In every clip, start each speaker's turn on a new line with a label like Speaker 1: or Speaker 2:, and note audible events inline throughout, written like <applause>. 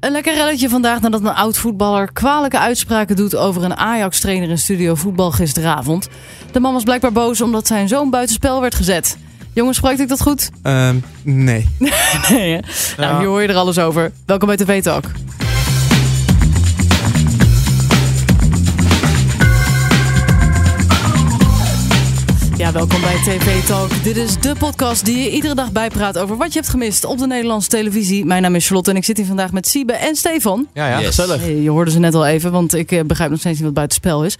Speaker 1: Een lekker relletje vandaag nadat een oud voetballer kwalijke uitspraken doet over een Ajax-trainer in studio voetbal gisteravond. De man was blijkbaar boos omdat zijn zoon buitenspel werd gezet. Jongens, spreekt ik dat goed? <laughs>
Speaker 2: Ehm,
Speaker 3: <laughs>
Speaker 2: nee.
Speaker 1: Nee, hè? Nou,
Speaker 2: Ja.
Speaker 1: hier hoor je er alles over. Welkom bij TV Talk. Ja, welkom bij TV Talk. Dit is de podcast die je iedere dag bijpraat over wat je hebt gemist op de Nederlandse televisie. Mijn naam is Charlotte en ik zit hier vandaag met Siebe en Stefan.
Speaker 2: Ja, ja,
Speaker 3: Yes.
Speaker 2: gezellig.
Speaker 1: Hey, je hoorde ze net al even, want ik eh, begrijp nog steeds niet wat buitenspel is.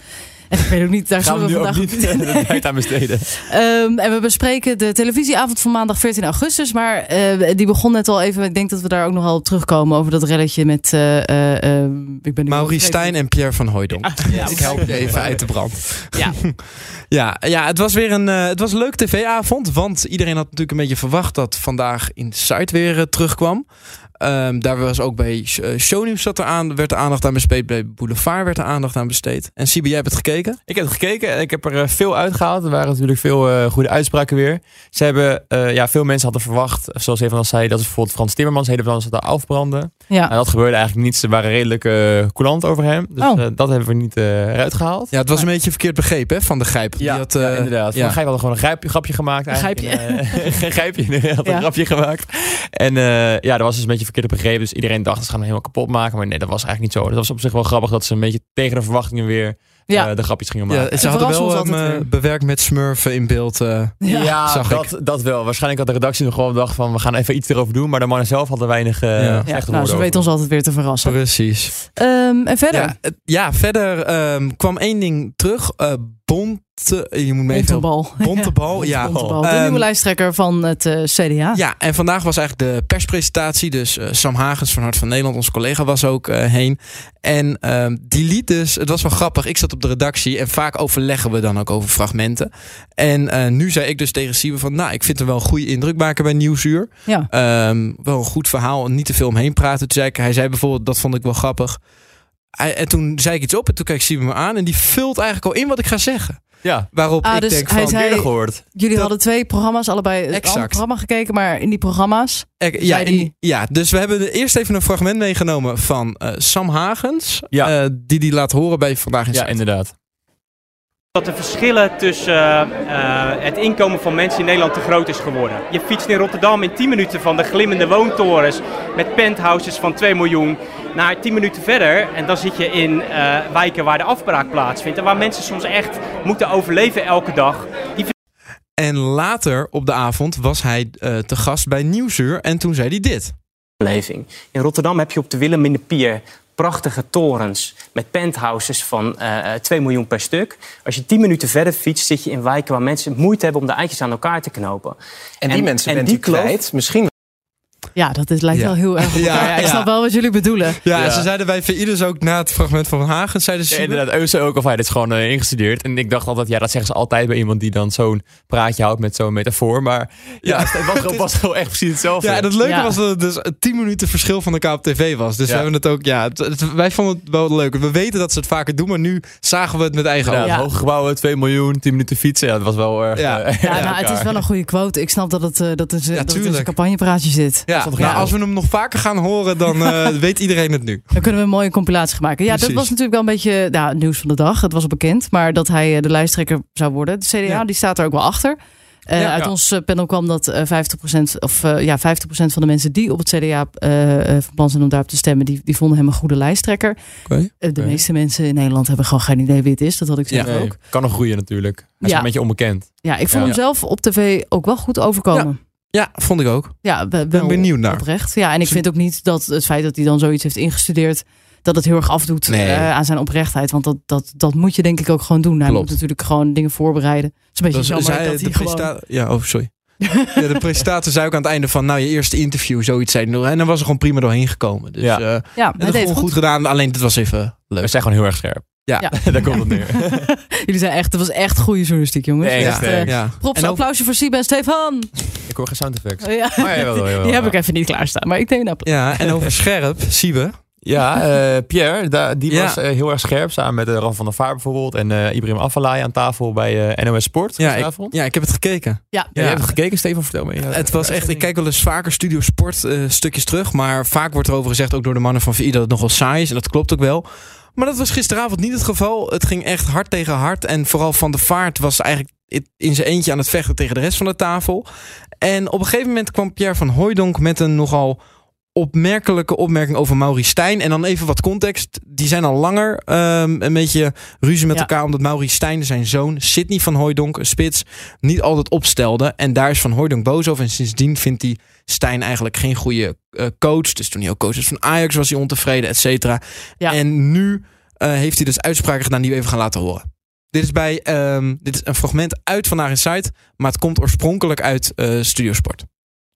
Speaker 1: En ik weet ook niet, daar zullen
Speaker 3: Gaan we
Speaker 1: we
Speaker 3: nu ook
Speaker 1: vandaag
Speaker 3: niet de tijd aan besteden.
Speaker 1: <laughs> Ehm, en we bespreken de televisieavond van maandag 14 augustus. Maar eh, die begon net al even. Ik denk dat we daar ook nog wel op terugkomen over dat relletje met. eh, eh, eh, ik ben nu
Speaker 2: <laughs>
Speaker 1: vergeten.
Speaker 2: Maurice Stijn en Pierre van Hooijdonk.
Speaker 3: Ja,
Speaker 2: Ik help je even uit de brand.
Speaker 3: Ja.
Speaker 2: <laughs> ja, ja, het was weer een, eh, het was een leuke tv-avond. Want iedereen had natuurlijk een beetje verwacht dat vandaag in Zuid weer eh, terugkwam. Ehm, daar was ook bij Sh- eh, Shownieuws zat er aan, werd er aandacht aan besteed. Bij Boulevard werd er aandacht aan besteed. En Sibi, jij hebt het gekeken?
Speaker 3: Ik heb het gekeken en ik heb er eh, veel uitgehaald. Er waren natuurlijk veel eh, goede uitspraken weer. Ze hebben, eh, ja, veel mensen hadden verwacht, zoals even al zei, dat ze bijvoorbeeld Frans Timmermans hele plan hadden afbranden.
Speaker 1: Ja.
Speaker 3: Nou, dat gebeurde eigenlijk niet. Ze waren redelijk eh coulant over hem. Dus
Speaker 1: Oh.
Speaker 3: eh, dat hebben we niet eh, eruit gehaald.
Speaker 2: Ja, het was een beetje verkeerd begrepen hè, van de Gijp. Die had,
Speaker 3: ja,
Speaker 2: eh,
Speaker 3: inderdaad.
Speaker 2: ja.
Speaker 3: Van Gijp had gewoon een grijp- grapje gemaakt. eigenlijk. En, eh, <laughs> Een grijpje, inderdaad. had
Speaker 1: Ja.
Speaker 3: Een grapje gemaakt. En eh, ja, dat was dus een beetje verkeerd begrepen. Dus iedereen dacht, ze gaan hem helemaal kapot maken. Maar nee, dat was eigenlijk niet zo. Dus Dat was op zich wel grappig dat ze een beetje tegen de verwachtingen weer
Speaker 1: Ja.
Speaker 3: eh, de grapjes gingen maken.
Speaker 2: Ja, ze hadden
Speaker 1: verrassen ons
Speaker 2: wel
Speaker 1: altijd
Speaker 2: hem, eh,
Speaker 1: weer.
Speaker 2: bewerkt met smurfen in beeld. eh.
Speaker 1: Ja.
Speaker 3: Ja,
Speaker 2: <laughs> zag ik.
Speaker 3: dat, dat wel. Waarschijnlijk had de redactie nog gewoon bedacht van we gaan even iets erover doen. Maar de mannen zelf hadden weinig eh
Speaker 2: Ja.
Speaker 3: slechte
Speaker 1: Ja,
Speaker 3: woorden
Speaker 1: nou, ze
Speaker 3: over.
Speaker 1: weten ons altijd weer te verrassen.
Speaker 2: Precies.
Speaker 1: Ehm, en verder.
Speaker 2: Ja, het- ja verder ehm, kwam één ding terug. Eh bonte, je moet me even helpen.
Speaker 1: Bontebal.
Speaker 2: Bontebal, <laughs> ja.
Speaker 1: Bontebal, de
Speaker 2: Ehm,
Speaker 1: nieuwe lijsttrekker van het eh, CDA.
Speaker 2: Ja, en vandaag was eigenlijk de perspresentatie. Dus eh, Sam Hagens van Hart van Nederland, onze collega, was ook eh, heen. En ehm, die liet dus, het was wel grappig, ik zat op de redactie en vaak overleggen we dan ook over fragmenten. En eh, nu zei ik dus tegen Siebe van, nou, ik vind hem wel een goede indruk maken bij Nieuwsuur.
Speaker 1: Ja.
Speaker 2: Ehm, wel een goed verhaal en niet te veel omheen praten. Toen zei ik, hij zei bijvoorbeeld, dat vond ik wel grappig. Hij- en toen zei ik iets op en toen keek Siebe me aan en die vult eigenlijk al in wat ik ga zeggen.
Speaker 3: Ja,
Speaker 2: Waarop
Speaker 1: Ah,
Speaker 2: ik
Speaker 1: dus
Speaker 2: denk
Speaker 1: hij
Speaker 2: van,
Speaker 1: zei-
Speaker 3: eerder gehoord.
Speaker 1: Jullie
Speaker 2: dat-
Speaker 1: hadden twee programma's, allebei een
Speaker 2: Exact.
Speaker 1: ander programma gekeken. Maar in die programma's.
Speaker 2: Eh, ja,
Speaker 1: Zei
Speaker 2: in-
Speaker 1: die-
Speaker 2: ja, dus we hebben eerst even een fragment meegenomen van eh, Sam Hagens.
Speaker 3: Ja.
Speaker 2: eh, die die laat horen bij Vandaag in
Speaker 3: Ja,
Speaker 2: Zuid.
Speaker 3: inderdaad.
Speaker 4: Dat de verschillen tussen eh, eh, het inkomen van mensen in Nederland te groot is geworden. Je fietst in Rotterdam in 10 minuten van de glimmende woontorens met penthouses van 2 miljoen naar 10 minuten verder. En dan zit je in eh, wijken waar de afbraak plaatsvindt en waar mensen soms echt moeten overleven elke dag. Die
Speaker 2: En later op de avond was hij eh, te gast bij Nieuwsuur en toen zei hij dit.
Speaker 4: Beleving. In Rotterdam heb je op de Willem in de Pier prachtige torens met penthouses van eh, eh, 2 miljoen per stuk. Als je 10 minuten verder fietst, zit je in wijken waar mensen moeite hebben om de eitjes aan elkaar te knopen.
Speaker 5: En die mensen
Speaker 4: en
Speaker 5: bent
Speaker 4: die
Speaker 5: u kwijt. Misschien
Speaker 1: Ja, dat is, lijkt
Speaker 2: Ja.
Speaker 1: wel heel
Speaker 2: <laughs>
Speaker 1: erg. op
Speaker 2: Ja,
Speaker 1: elkaar. Ja, ik
Speaker 2: ja.
Speaker 1: snap wel wat jullie bedoelen.
Speaker 2: Ja,
Speaker 3: Ja.
Speaker 2: ze zeiden bij VI dus ook na het fragment van Hagens. Zeiden ze,
Speaker 3: Ja, inderdaad, Euse ook, of hij dit is gewoon eh, ingestudeerd. En ik dacht altijd, ja, dat zeggen ze altijd bij iemand die dan zo'n praatje houdt met zo'n metafoor. Maar
Speaker 2: Ja.
Speaker 3: ja, het was, gewoon- was gewoon echt precies hetzelfde.
Speaker 2: Ja, en het leuke
Speaker 1: Ja.
Speaker 2: was dat het dus 10 minuten verschil van elkaar op tv was. Dus
Speaker 3: Ja.
Speaker 2: we hebben het ook, ja, het- het- wij vonden het wel leuk. We weten dat ze het vaker doen, maar nu zagen we het met eigen
Speaker 3: Inderdaad,
Speaker 2: ogen.
Speaker 1: Ja.
Speaker 3: Hoge gebouwen, 2 miljoen, 10 minuten fietsen. Ja, dat was wel erg...
Speaker 2: Ja.
Speaker 3: <laughs> eh,
Speaker 1: Ja, nou, het is
Speaker 3: elkaar.
Speaker 1: wel een goede quote. Ik snap dat het, eh, dat is, dat het in zijn
Speaker 2: tuurlijk.
Speaker 1: campagnepraatje zit.
Speaker 2: Ja,
Speaker 3: stond er
Speaker 2: nou,
Speaker 3: geen
Speaker 2: als we hem nog vaker gaan horen, dan
Speaker 1: <laughs>
Speaker 2: eh, weet iedereen het nu.
Speaker 1: Dan kunnen we een mooie compilatie gaan maken. Ja, dat
Speaker 2: Precies.
Speaker 1: was natuurlijk wel een beetje nou, het nieuws van de dag. Het was al bekend, maar dat hij eh, de lijsttrekker zou worden. De CDA
Speaker 2: Ja.
Speaker 1: die staat er ook wel achter. Eh,
Speaker 2: Ja,
Speaker 1: uit
Speaker 2: ja.
Speaker 1: ons eh, panel kwam dat eh, 50%, of, eh, ja, 50% van de mensen die op het CDA eh eh, van plan zijn om daarop te stemmen, die, die vonden hem een goede lijsttrekker. Eh, de
Speaker 3: Oké.
Speaker 1: meeste mensen in Nederland hebben gewoon geen idee wie het is. Dat had ik zelf
Speaker 3: Nee,
Speaker 1: ook.
Speaker 3: Kan nog groeien natuurlijk. Hij is
Speaker 1: Ja.
Speaker 3: een beetje onbekend.
Speaker 1: Ja, ik vond
Speaker 3: Ja.
Speaker 1: hem zelf op tv ook wel goed overkomen.
Speaker 2: Ja, vond ik ook.
Speaker 1: Ja, we-
Speaker 2: ben
Speaker 1: wel
Speaker 2: benieuwd naar.
Speaker 1: Oprecht. Ja, en ik vind ook niet dat het feit dat hij dan zoiets heeft ingestudeerd, dat het heel erg afdoet
Speaker 2: Nee.
Speaker 1: eh, aan zijn oprechtheid. Want dat, dat, dat moet je denk ik ook gewoon doen. Hij
Speaker 2: Klopt.
Speaker 1: moet natuurlijk gewoon dingen voorbereiden. Het is een beetje
Speaker 2: Dat
Speaker 1: jammer
Speaker 2: zei
Speaker 1: dat
Speaker 2: de
Speaker 1: hij gewoon... <laughs>
Speaker 2: presta- Ja, oh, sorry. ja, de presentator zei ook aan het einde van, nou, je eerste interview, zoiets zei hij nog. En dan was er gewoon prima doorheen gekomen. Dus
Speaker 3: Ja.
Speaker 2: ja. het
Speaker 1: Ja, hij
Speaker 2: is
Speaker 1: deed
Speaker 2: gewoon
Speaker 1: het
Speaker 2: goed.
Speaker 1: goed.
Speaker 2: gedaan, alleen dit was even leuk.
Speaker 3: We zijn gewoon heel erg
Speaker 2: Ja.
Speaker 3: scherp.
Speaker 1: <laughs>
Speaker 2: <laughs>
Speaker 1: Ja.
Speaker 3: Daar komt het neer.
Speaker 1: <laughs> Jullie zijn echt, dat was echt goede journalistiek, jongens.
Speaker 3: Nee,
Speaker 1: echt,
Speaker 3: ja,
Speaker 1: eh,
Speaker 3: nee.
Speaker 2: Ja.
Speaker 1: Props,
Speaker 2: En ook-
Speaker 1: applausje voor Siebe en Stefan.
Speaker 3: Ik hoor geen sound effects.
Speaker 1: Oh, Ja,
Speaker 3: jawel, jawel,
Speaker 1: <laughs> die heb
Speaker 3: ja.
Speaker 1: ik even niet klaarstaan, maar ik neem een applaus.
Speaker 2: ja, en over scherp, Siebe.
Speaker 3: Ja, eh, Pierre, da- die
Speaker 2: Ja.
Speaker 3: was eh, heel erg scherp. Samen met eh, Ralf van der Vaart bijvoorbeeld. En eh Ibrahim Afellay aan tafel bij eh, NOS Sport
Speaker 2: Ja ik,
Speaker 3: gisteravond.
Speaker 2: ja, ik heb het gekeken.
Speaker 1: Ja.
Speaker 3: Ja,
Speaker 2: ja.
Speaker 3: Je hebt het gekeken, Stefan, vertel me. Ja,
Speaker 2: Het was echt, ik kijk wel eens vaker Studio Sport eh, stukjes terug. Maar vaak wordt erover gezegd, ook door de mannen van VI, dat het nogal saai is. En dat klopt ook wel. Maar dat was gisteravond niet het geval. Het ging echt hard tegen hard. En vooral Van de Vaart was eigenlijk in zijn eentje aan het vechten tegen de rest van de tafel. En op een gegeven moment kwam Pierre van Hooijdonk met een nogal opmerkelijke opmerking over Mauri Stijn. En dan even wat context. Die zijn al langer ehm, een beetje ruzie met
Speaker 1: Ja.
Speaker 2: elkaar. Omdat Mauri Stijn zijn zoon, Sidney van Hooijdonk, een spits, niet altijd opstelde. En daar is Van Hooijdonk boos over. En sindsdien vindt hij Stijn eigenlijk geen goede eh, coach. Dus toen hij ook coach was van Ajax was hij ontevreden, et cetera.
Speaker 1: Ja.
Speaker 2: En nu eh, heeft hij dus uitspraken gedaan die we even gaan laten horen. Dit is, bij, ehm, dit is een fragment uit Vandaag in Zuid, maar het komt oorspronkelijk uit eh Studiosport.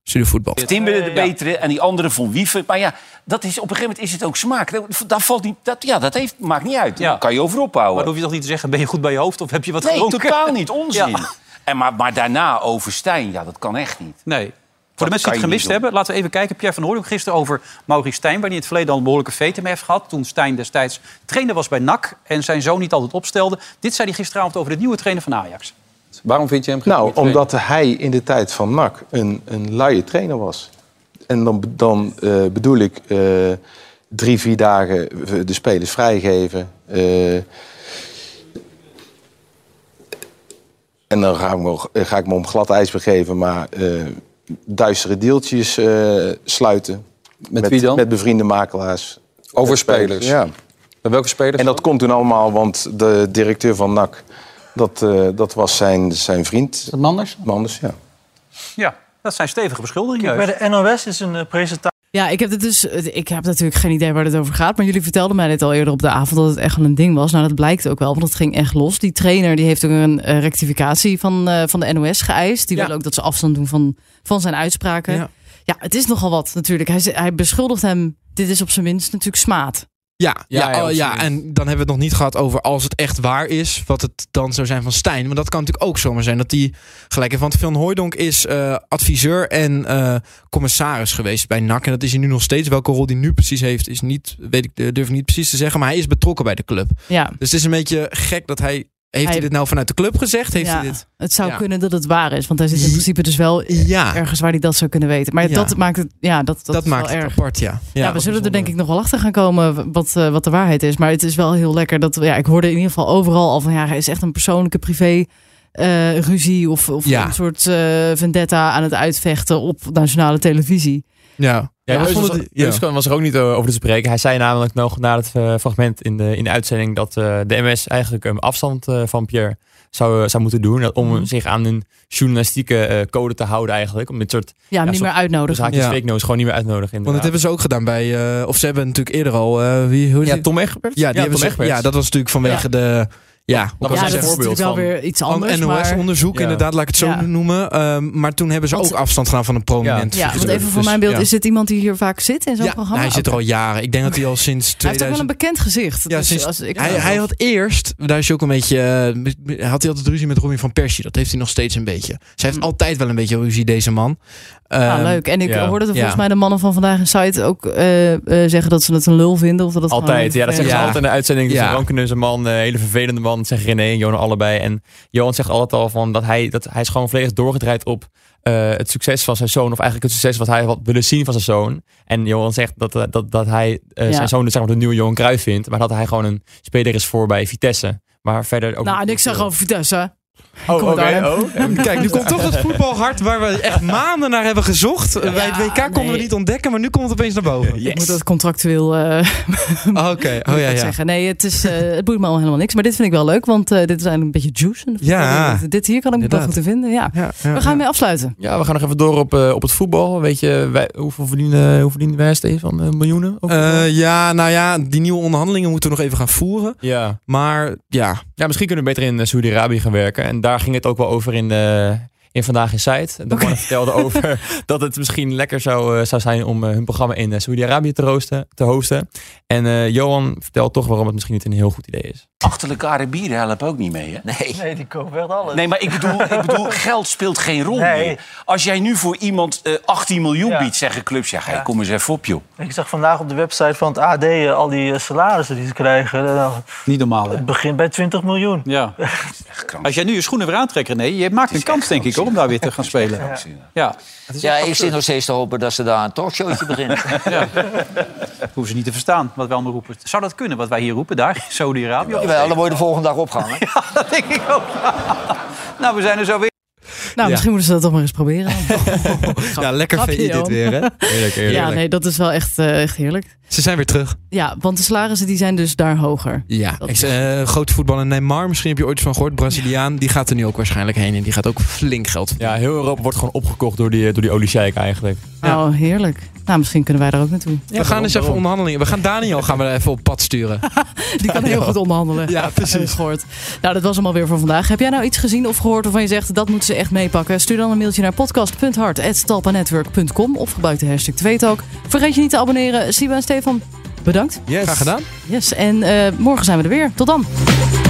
Speaker 2: Studiovoetbal.
Speaker 5: Timber de betere en die andere van Wiever. Maar ja, dat is, op een gegeven moment is het ook smaak. Dat, dat valt niet, dat, ja, dat heeft, maakt niet uit.
Speaker 6: Ja.
Speaker 5: Daar kan je over
Speaker 6: Maar
Speaker 5: ophouden.
Speaker 6: dan hoef je toch niet te zeggen, ben je goed bij je hoofd of heb je wat
Speaker 5: nee,
Speaker 6: gedronken?
Speaker 5: totaal niet. Onzin.
Speaker 6: <laughs> Ja.
Speaker 5: En maar, maar daarna over Stijn, ja, dat kan echt niet.
Speaker 6: Nee. Voor de
Speaker 5: Dat
Speaker 6: mensen
Speaker 5: kan
Speaker 6: die
Speaker 5: je
Speaker 6: het
Speaker 5: niet
Speaker 6: gemist
Speaker 5: doen.
Speaker 6: hebben, laten we even kijken. Pierre van Hooydonk gisteren over Maurice Stijn... waar hij in het verleden al een behoorlijke vetem heeft gehad... toen Stijn destijds trainer was bij NAC en zijn zoon niet altijd opstelde. Dit zei hij gisteravond over de nieuwe trainer van Ajax.
Speaker 7: Waarom vind je hem geen
Speaker 8: Nou,
Speaker 7: goede
Speaker 8: omdat hij in de tijd van NAC een, een luie trainer was. En dan, be- dan eh, bedoel ik eh, drie, vier dagen eh, de spelers vrijgeven. eh, en dan ga ik, me, ga ik me om glad ijs begeven, maar eh, duistere deeltjes eh, sluiten.
Speaker 7: Met wie dan?
Speaker 8: Met bevriende makelaars.
Speaker 7: trainer? Over
Speaker 8: Met
Speaker 7: spelers.
Speaker 8: Ja.
Speaker 7: Bij welke spelers?
Speaker 8: En dat komt toen allemaal, want de directeur van NAC, dat, eh, dat was zijn, zijn vriend.
Speaker 6: Manders?
Speaker 8: Manders, ja.
Speaker 6: Ja, dat zijn stevige beschuldigingen.
Speaker 9: Bij de NOS is een eh, presentatie.
Speaker 1: Ja, ik heb dit dus. Ik heb natuurlijk geen idee waar dit over gaat. Maar jullie vertelden mij dit al eerder op de avond dat het echt wel een ding was. Nou, dat blijkt ook wel, want het ging echt los. Die trainer die heeft ook een eh, rectificatie van, eh, van de NOS geëist. Die
Speaker 2: Ja.
Speaker 1: wil ook dat ze afstand doen van, van zijn uitspraken. Ja.
Speaker 2: Ja.
Speaker 1: het is nogal wat natuurlijk. Hij, ze- hij beschuldigt hem. Dit is op zijn minst natuurlijk smaad.
Speaker 2: Ja, ja,
Speaker 7: Ja, ja,
Speaker 2: oh, ja,
Speaker 7: absoluut.
Speaker 2: en dan hebben we het nog niet gehad over als het echt waar is, wat het dan zou zijn van Stijn. Want dat kan natuurlijk ook zomaar zijn dat die gelijk heeft. Want Van Hooijdonk is eh, adviseur en eh, commissaris geweest bij NAC. En dat is hij nu nog steeds. Welke rol hij nu precies heeft, is niet, weet ik, eh, durf ik niet precies te zeggen. Maar hij is betrokken bij de club.
Speaker 1: Ja.
Speaker 2: Dus het is een beetje gek dat hij. Heeft hij,
Speaker 1: Hij-
Speaker 2: dit nou vanuit de club gezegd? Heeft
Speaker 1: ja.
Speaker 2: hij dit?
Speaker 1: Het zou
Speaker 2: Ja.
Speaker 1: kunnen dat het waar is. Want hij zit in
Speaker 2: <laughs> Ja.
Speaker 1: principe dus wel
Speaker 2: Ja,
Speaker 1: ergens waar hij dat zou kunnen weten. Maar
Speaker 2: Ja.
Speaker 1: dat maakt het. Ja, dat, dat,
Speaker 2: dat,
Speaker 1: is
Speaker 2: maakt
Speaker 1: wel
Speaker 2: het
Speaker 1: erg.
Speaker 2: apart, ja.
Speaker 1: Ja, we
Speaker 2: wat
Speaker 1: zullen er
Speaker 2: bijzonder.
Speaker 1: denk ik nog wel achter gaan komen wat, eh, wat de waarheid is. Maar het is wel heel lekker dat ja, ik hoorde in ieder geval overal al van ja, hij is echt een persoonlijke privé eh, ruzie of, of
Speaker 2: Ja.
Speaker 1: een soort eh, vendetta aan het uitvechten op nationale televisie.
Speaker 2: Ja,
Speaker 3: Ja,
Speaker 2: Ja, ik
Speaker 3: Heus
Speaker 2: vond
Speaker 3: was,
Speaker 2: het- ja.
Speaker 3: Heus was er ook niet eh, over te spreken. Hij zei namelijk nog na het eh, fragment in de, in de uitzending dat eh, de MS eigenlijk een afstand eh, van Pierre zou, eh, zou moeten doen. dat- Om
Speaker 1: Mhm.
Speaker 3: zich aan een journalistieke eh, code te houden eigenlijk. Om dit soort
Speaker 1: Ja, hem niet
Speaker 3: zo- dus
Speaker 1: meer uitnodigen.
Speaker 3: zaakjes
Speaker 2: Ja.
Speaker 3: fake news gewoon niet meer uitnodigen.
Speaker 2: want dat
Speaker 3: inderdaad.
Speaker 2: hebben ze ook gedaan bij. eh, of ze hebben natuurlijk eerder al. eh, wie, hoe heet
Speaker 3: ja,
Speaker 2: die?
Speaker 3: Tom Egbert?
Speaker 2: Ja, die hebben
Speaker 3: Tom
Speaker 2: ze-
Speaker 3: Egbert.
Speaker 2: ja, dat was natuurlijk vanwege de. Ja,
Speaker 3: was
Speaker 1: ja,
Speaker 3: een
Speaker 1: dat is
Speaker 3: voorbeeld
Speaker 1: natuurlijk wel
Speaker 3: van-
Speaker 1: weer iets anders. maar,
Speaker 2: NOS-onderzoek,
Speaker 3: Ja.
Speaker 2: inderdaad, laat ik het zo
Speaker 1: Ja.
Speaker 2: noemen. Ehm, maar toen hebben ze
Speaker 1: Want-
Speaker 2: ook afstand gedaan van een prominent
Speaker 1: ja, want
Speaker 2: figuur.
Speaker 1: even voor
Speaker 2: Dus-
Speaker 1: mijn beeld,
Speaker 2: ja.
Speaker 1: is dit iemand die hier vaak zit in zo'n
Speaker 2: Ja, nou,
Speaker 1: programma?
Speaker 2: hij zit er
Speaker 1: Oké.
Speaker 2: al jaren. Ik denk dat hij al sinds
Speaker 1: Hij heeft ook wel een
Speaker 2: 2000...
Speaker 1: bekend gezicht.
Speaker 2: Ja,
Speaker 1: dus
Speaker 2: sinds-
Speaker 1: als ik,
Speaker 2: Hij, hij had eerst, daar is hij ook een beetje, eh, met- met- had hij altijd ruzie met Robin van Persie. Dat heeft hij nog steeds een beetje. Zij heeft
Speaker 1: Hm.
Speaker 2: altijd wel een beetje ruzie, deze man.
Speaker 1: Ah,
Speaker 2: Ehm,
Speaker 1: leuk. En ik
Speaker 3: ja,
Speaker 1: hoorde
Speaker 2: ja.
Speaker 1: volgens mij de mannen van vandaag een site ook eh, eh, zeggen dat ze het een lul vinden. Of dat het gewoon
Speaker 3: Altijd, ja, dat zeggen ze
Speaker 2: Ja.
Speaker 3: altijd in de uitzending. Dus
Speaker 2: Ja.
Speaker 3: een rankeneuze man, een hele vervelende man, zeggen René en Johan allebei. En Johan zegt altijd al van dat hij, dat hij is gewoon volledig doorgedraaid op eh, het succes van zijn zoon. Of eigenlijk het succes wat hij had willen zien van zijn zoon. En Johan zegt dat, eh, dat, dat hij eh,
Speaker 1: Ja.
Speaker 3: zijn zoon dus, zeg maar, de nieuwe Johan Cruijff vindt. Maar dat hij gewoon een speler is voor bij Vitesse. Maar verder ook
Speaker 1: Nou,
Speaker 3: niet
Speaker 1: en ik zeg
Speaker 3: veel.
Speaker 1: gewoon Vitesse.
Speaker 3: Oh,
Speaker 1: kom uit
Speaker 3: oké,
Speaker 1: Arnhem.
Speaker 3: oh, <laughs> oké.
Speaker 2: Kijk, nu komt toch dat voetbalhart waar we
Speaker 1: <laughs>
Speaker 2: echt maanden naar hebben gezocht. Bij het WK konden we
Speaker 1: nee.
Speaker 2: niet ontdekken, maar nu komt het opeens naar boven.
Speaker 1: Ik moet dat contractueel eh,
Speaker 2: Oké, oh
Speaker 1: moet <laughs>
Speaker 2: ja,
Speaker 1: ik
Speaker 2: ja.
Speaker 1: zeggen. Nee, het, is, eh, het boeit me al helemaal niks. Maar dit vind ik wel leuk, want eh, dit is eigenlijk een beetje juice. in de
Speaker 2: Ja.
Speaker 1: voetbalwereld. Dit hier kan ik me wel goed
Speaker 2: Inderdaad.
Speaker 1: te vinden, ja.
Speaker 2: Ja, ja,
Speaker 1: We
Speaker 2: ja.
Speaker 1: gaan mee afsluiten.
Speaker 3: Ja, we gaan nog even door op, eh, op het voetbal. Weet je, wij, hoeveel verdienen, hoe verdienen wij, Stefan? Eh, miljoenen? Ook voetbal?
Speaker 2: Eh, ja, nou ja, die nieuwe onderhandelingen moeten we nog even gaan voeren.
Speaker 3: ja.
Speaker 2: Maar ja,
Speaker 3: Ja, misschien kunnen we beter in eh, Saudi-Arabië gaan werken. En daar ging het ook wel over in, eh, in in Vandaag in Site. De mannen vertelden <laughs> over dat het misschien lekker zou, eh, zou zijn om eh, hun programma in eh, Saudi-Arabië te, roosten- te hosten. En eh, Johan vertelt toch waarom het misschien niet een heel goed idee is.
Speaker 5: Achterlijke Arabieren helpen ook niet mee, hè? Nee.
Speaker 9: Nee, die kopen echt alles.
Speaker 5: Nee, maar ik bedoel, ik bedoel geld speelt geen rol
Speaker 9: Nee.
Speaker 5: meer. Als jij nu voor iemand eh, 18 miljoen
Speaker 9: Ja.
Speaker 5: biedt, zeggen clubs... Ja, hey, kom eens even op, joh.
Speaker 9: Ik zag vandaag op de website van het AD eh, al die eh, salarissen die ze krijgen. Eh, nou,
Speaker 6: Niet normaal, hè?
Speaker 9: het begint bij 20 miljoen.
Speaker 6: Ja.
Speaker 5: krank.
Speaker 6: <laughs> Als jij nu je schoenen weer aantrekt, René, je maakt een kans, denk ik, hoor, om daar weer te gaan spelen. Ja,
Speaker 10: Ja, ik zit nog steeds te hopen dat ze daar een talkshowtje
Speaker 5: <laughs>
Speaker 10: beginnen.
Speaker 6: dat hoeven ze niet te verstaan, wat wij allemaal roepen. Zou dat kunnen, wat wij hier roepen, daar, in Saudi-Arabië?
Speaker 10: Jawel, dan word je de volgende dag opgehangen.
Speaker 6: Dat denk ik ook. Nou, we zijn er zo weer.
Speaker 1: Nou, misschien moeten ze dat toch maar eens proberen.
Speaker 2: <laughs> Ja, lekker
Speaker 1: Grapje,
Speaker 2: VI dit
Speaker 1: Johan.
Speaker 2: weer, hè?
Speaker 3: Eerlijk, eerlijk.
Speaker 1: <laughs> ja, nee, dat is wel echt, eh, echt heerlijk.
Speaker 2: Ze zijn weer terug.
Speaker 1: Ja, want de salarissen die zijn dus daar hoger.
Speaker 2: Ja,
Speaker 1: Dat
Speaker 2: ik,
Speaker 1: is-
Speaker 2: eh, grote voetballer Neymar, misschien heb je ooit van gehoord, Braziliaan, die gaat er nu ook waarschijnlijk heen en die gaat ook flink geld verdienen.
Speaker 3: Ja, heel Europa wordt gewoon opgekocht door die, eh, door die oliesjeik eigenlijk.
Speaker 1: Nou, heerlijk. Nou, misschien kunnen wij daar ook naartoe.
Speaker 2: we gaan eens even onderhandelingen. We gaan Daniel gaan we even op pad sturen.
Speaker 1: Die kan heel goed onderhandelen.
Speaker 2: Ja, precies.
Speaker 1: Heb ik gehoord. Nou, dat was hem alweer voor vandaag. Heb jij nou iets gezien of gehoord waarvan je zegt dat moeten ze echt meepakken? Stuur dan een mailtje naar podcast.hart.talpanetwork.com of gebruik de hashtag Tweetalk. Vergeet je niet te abonneren. Siba en Stefan, bedankt.
Speaker 2: Graag gedaan.
Speaker 1: Yes, en eh, morgen zijn we er weer. Tot dan.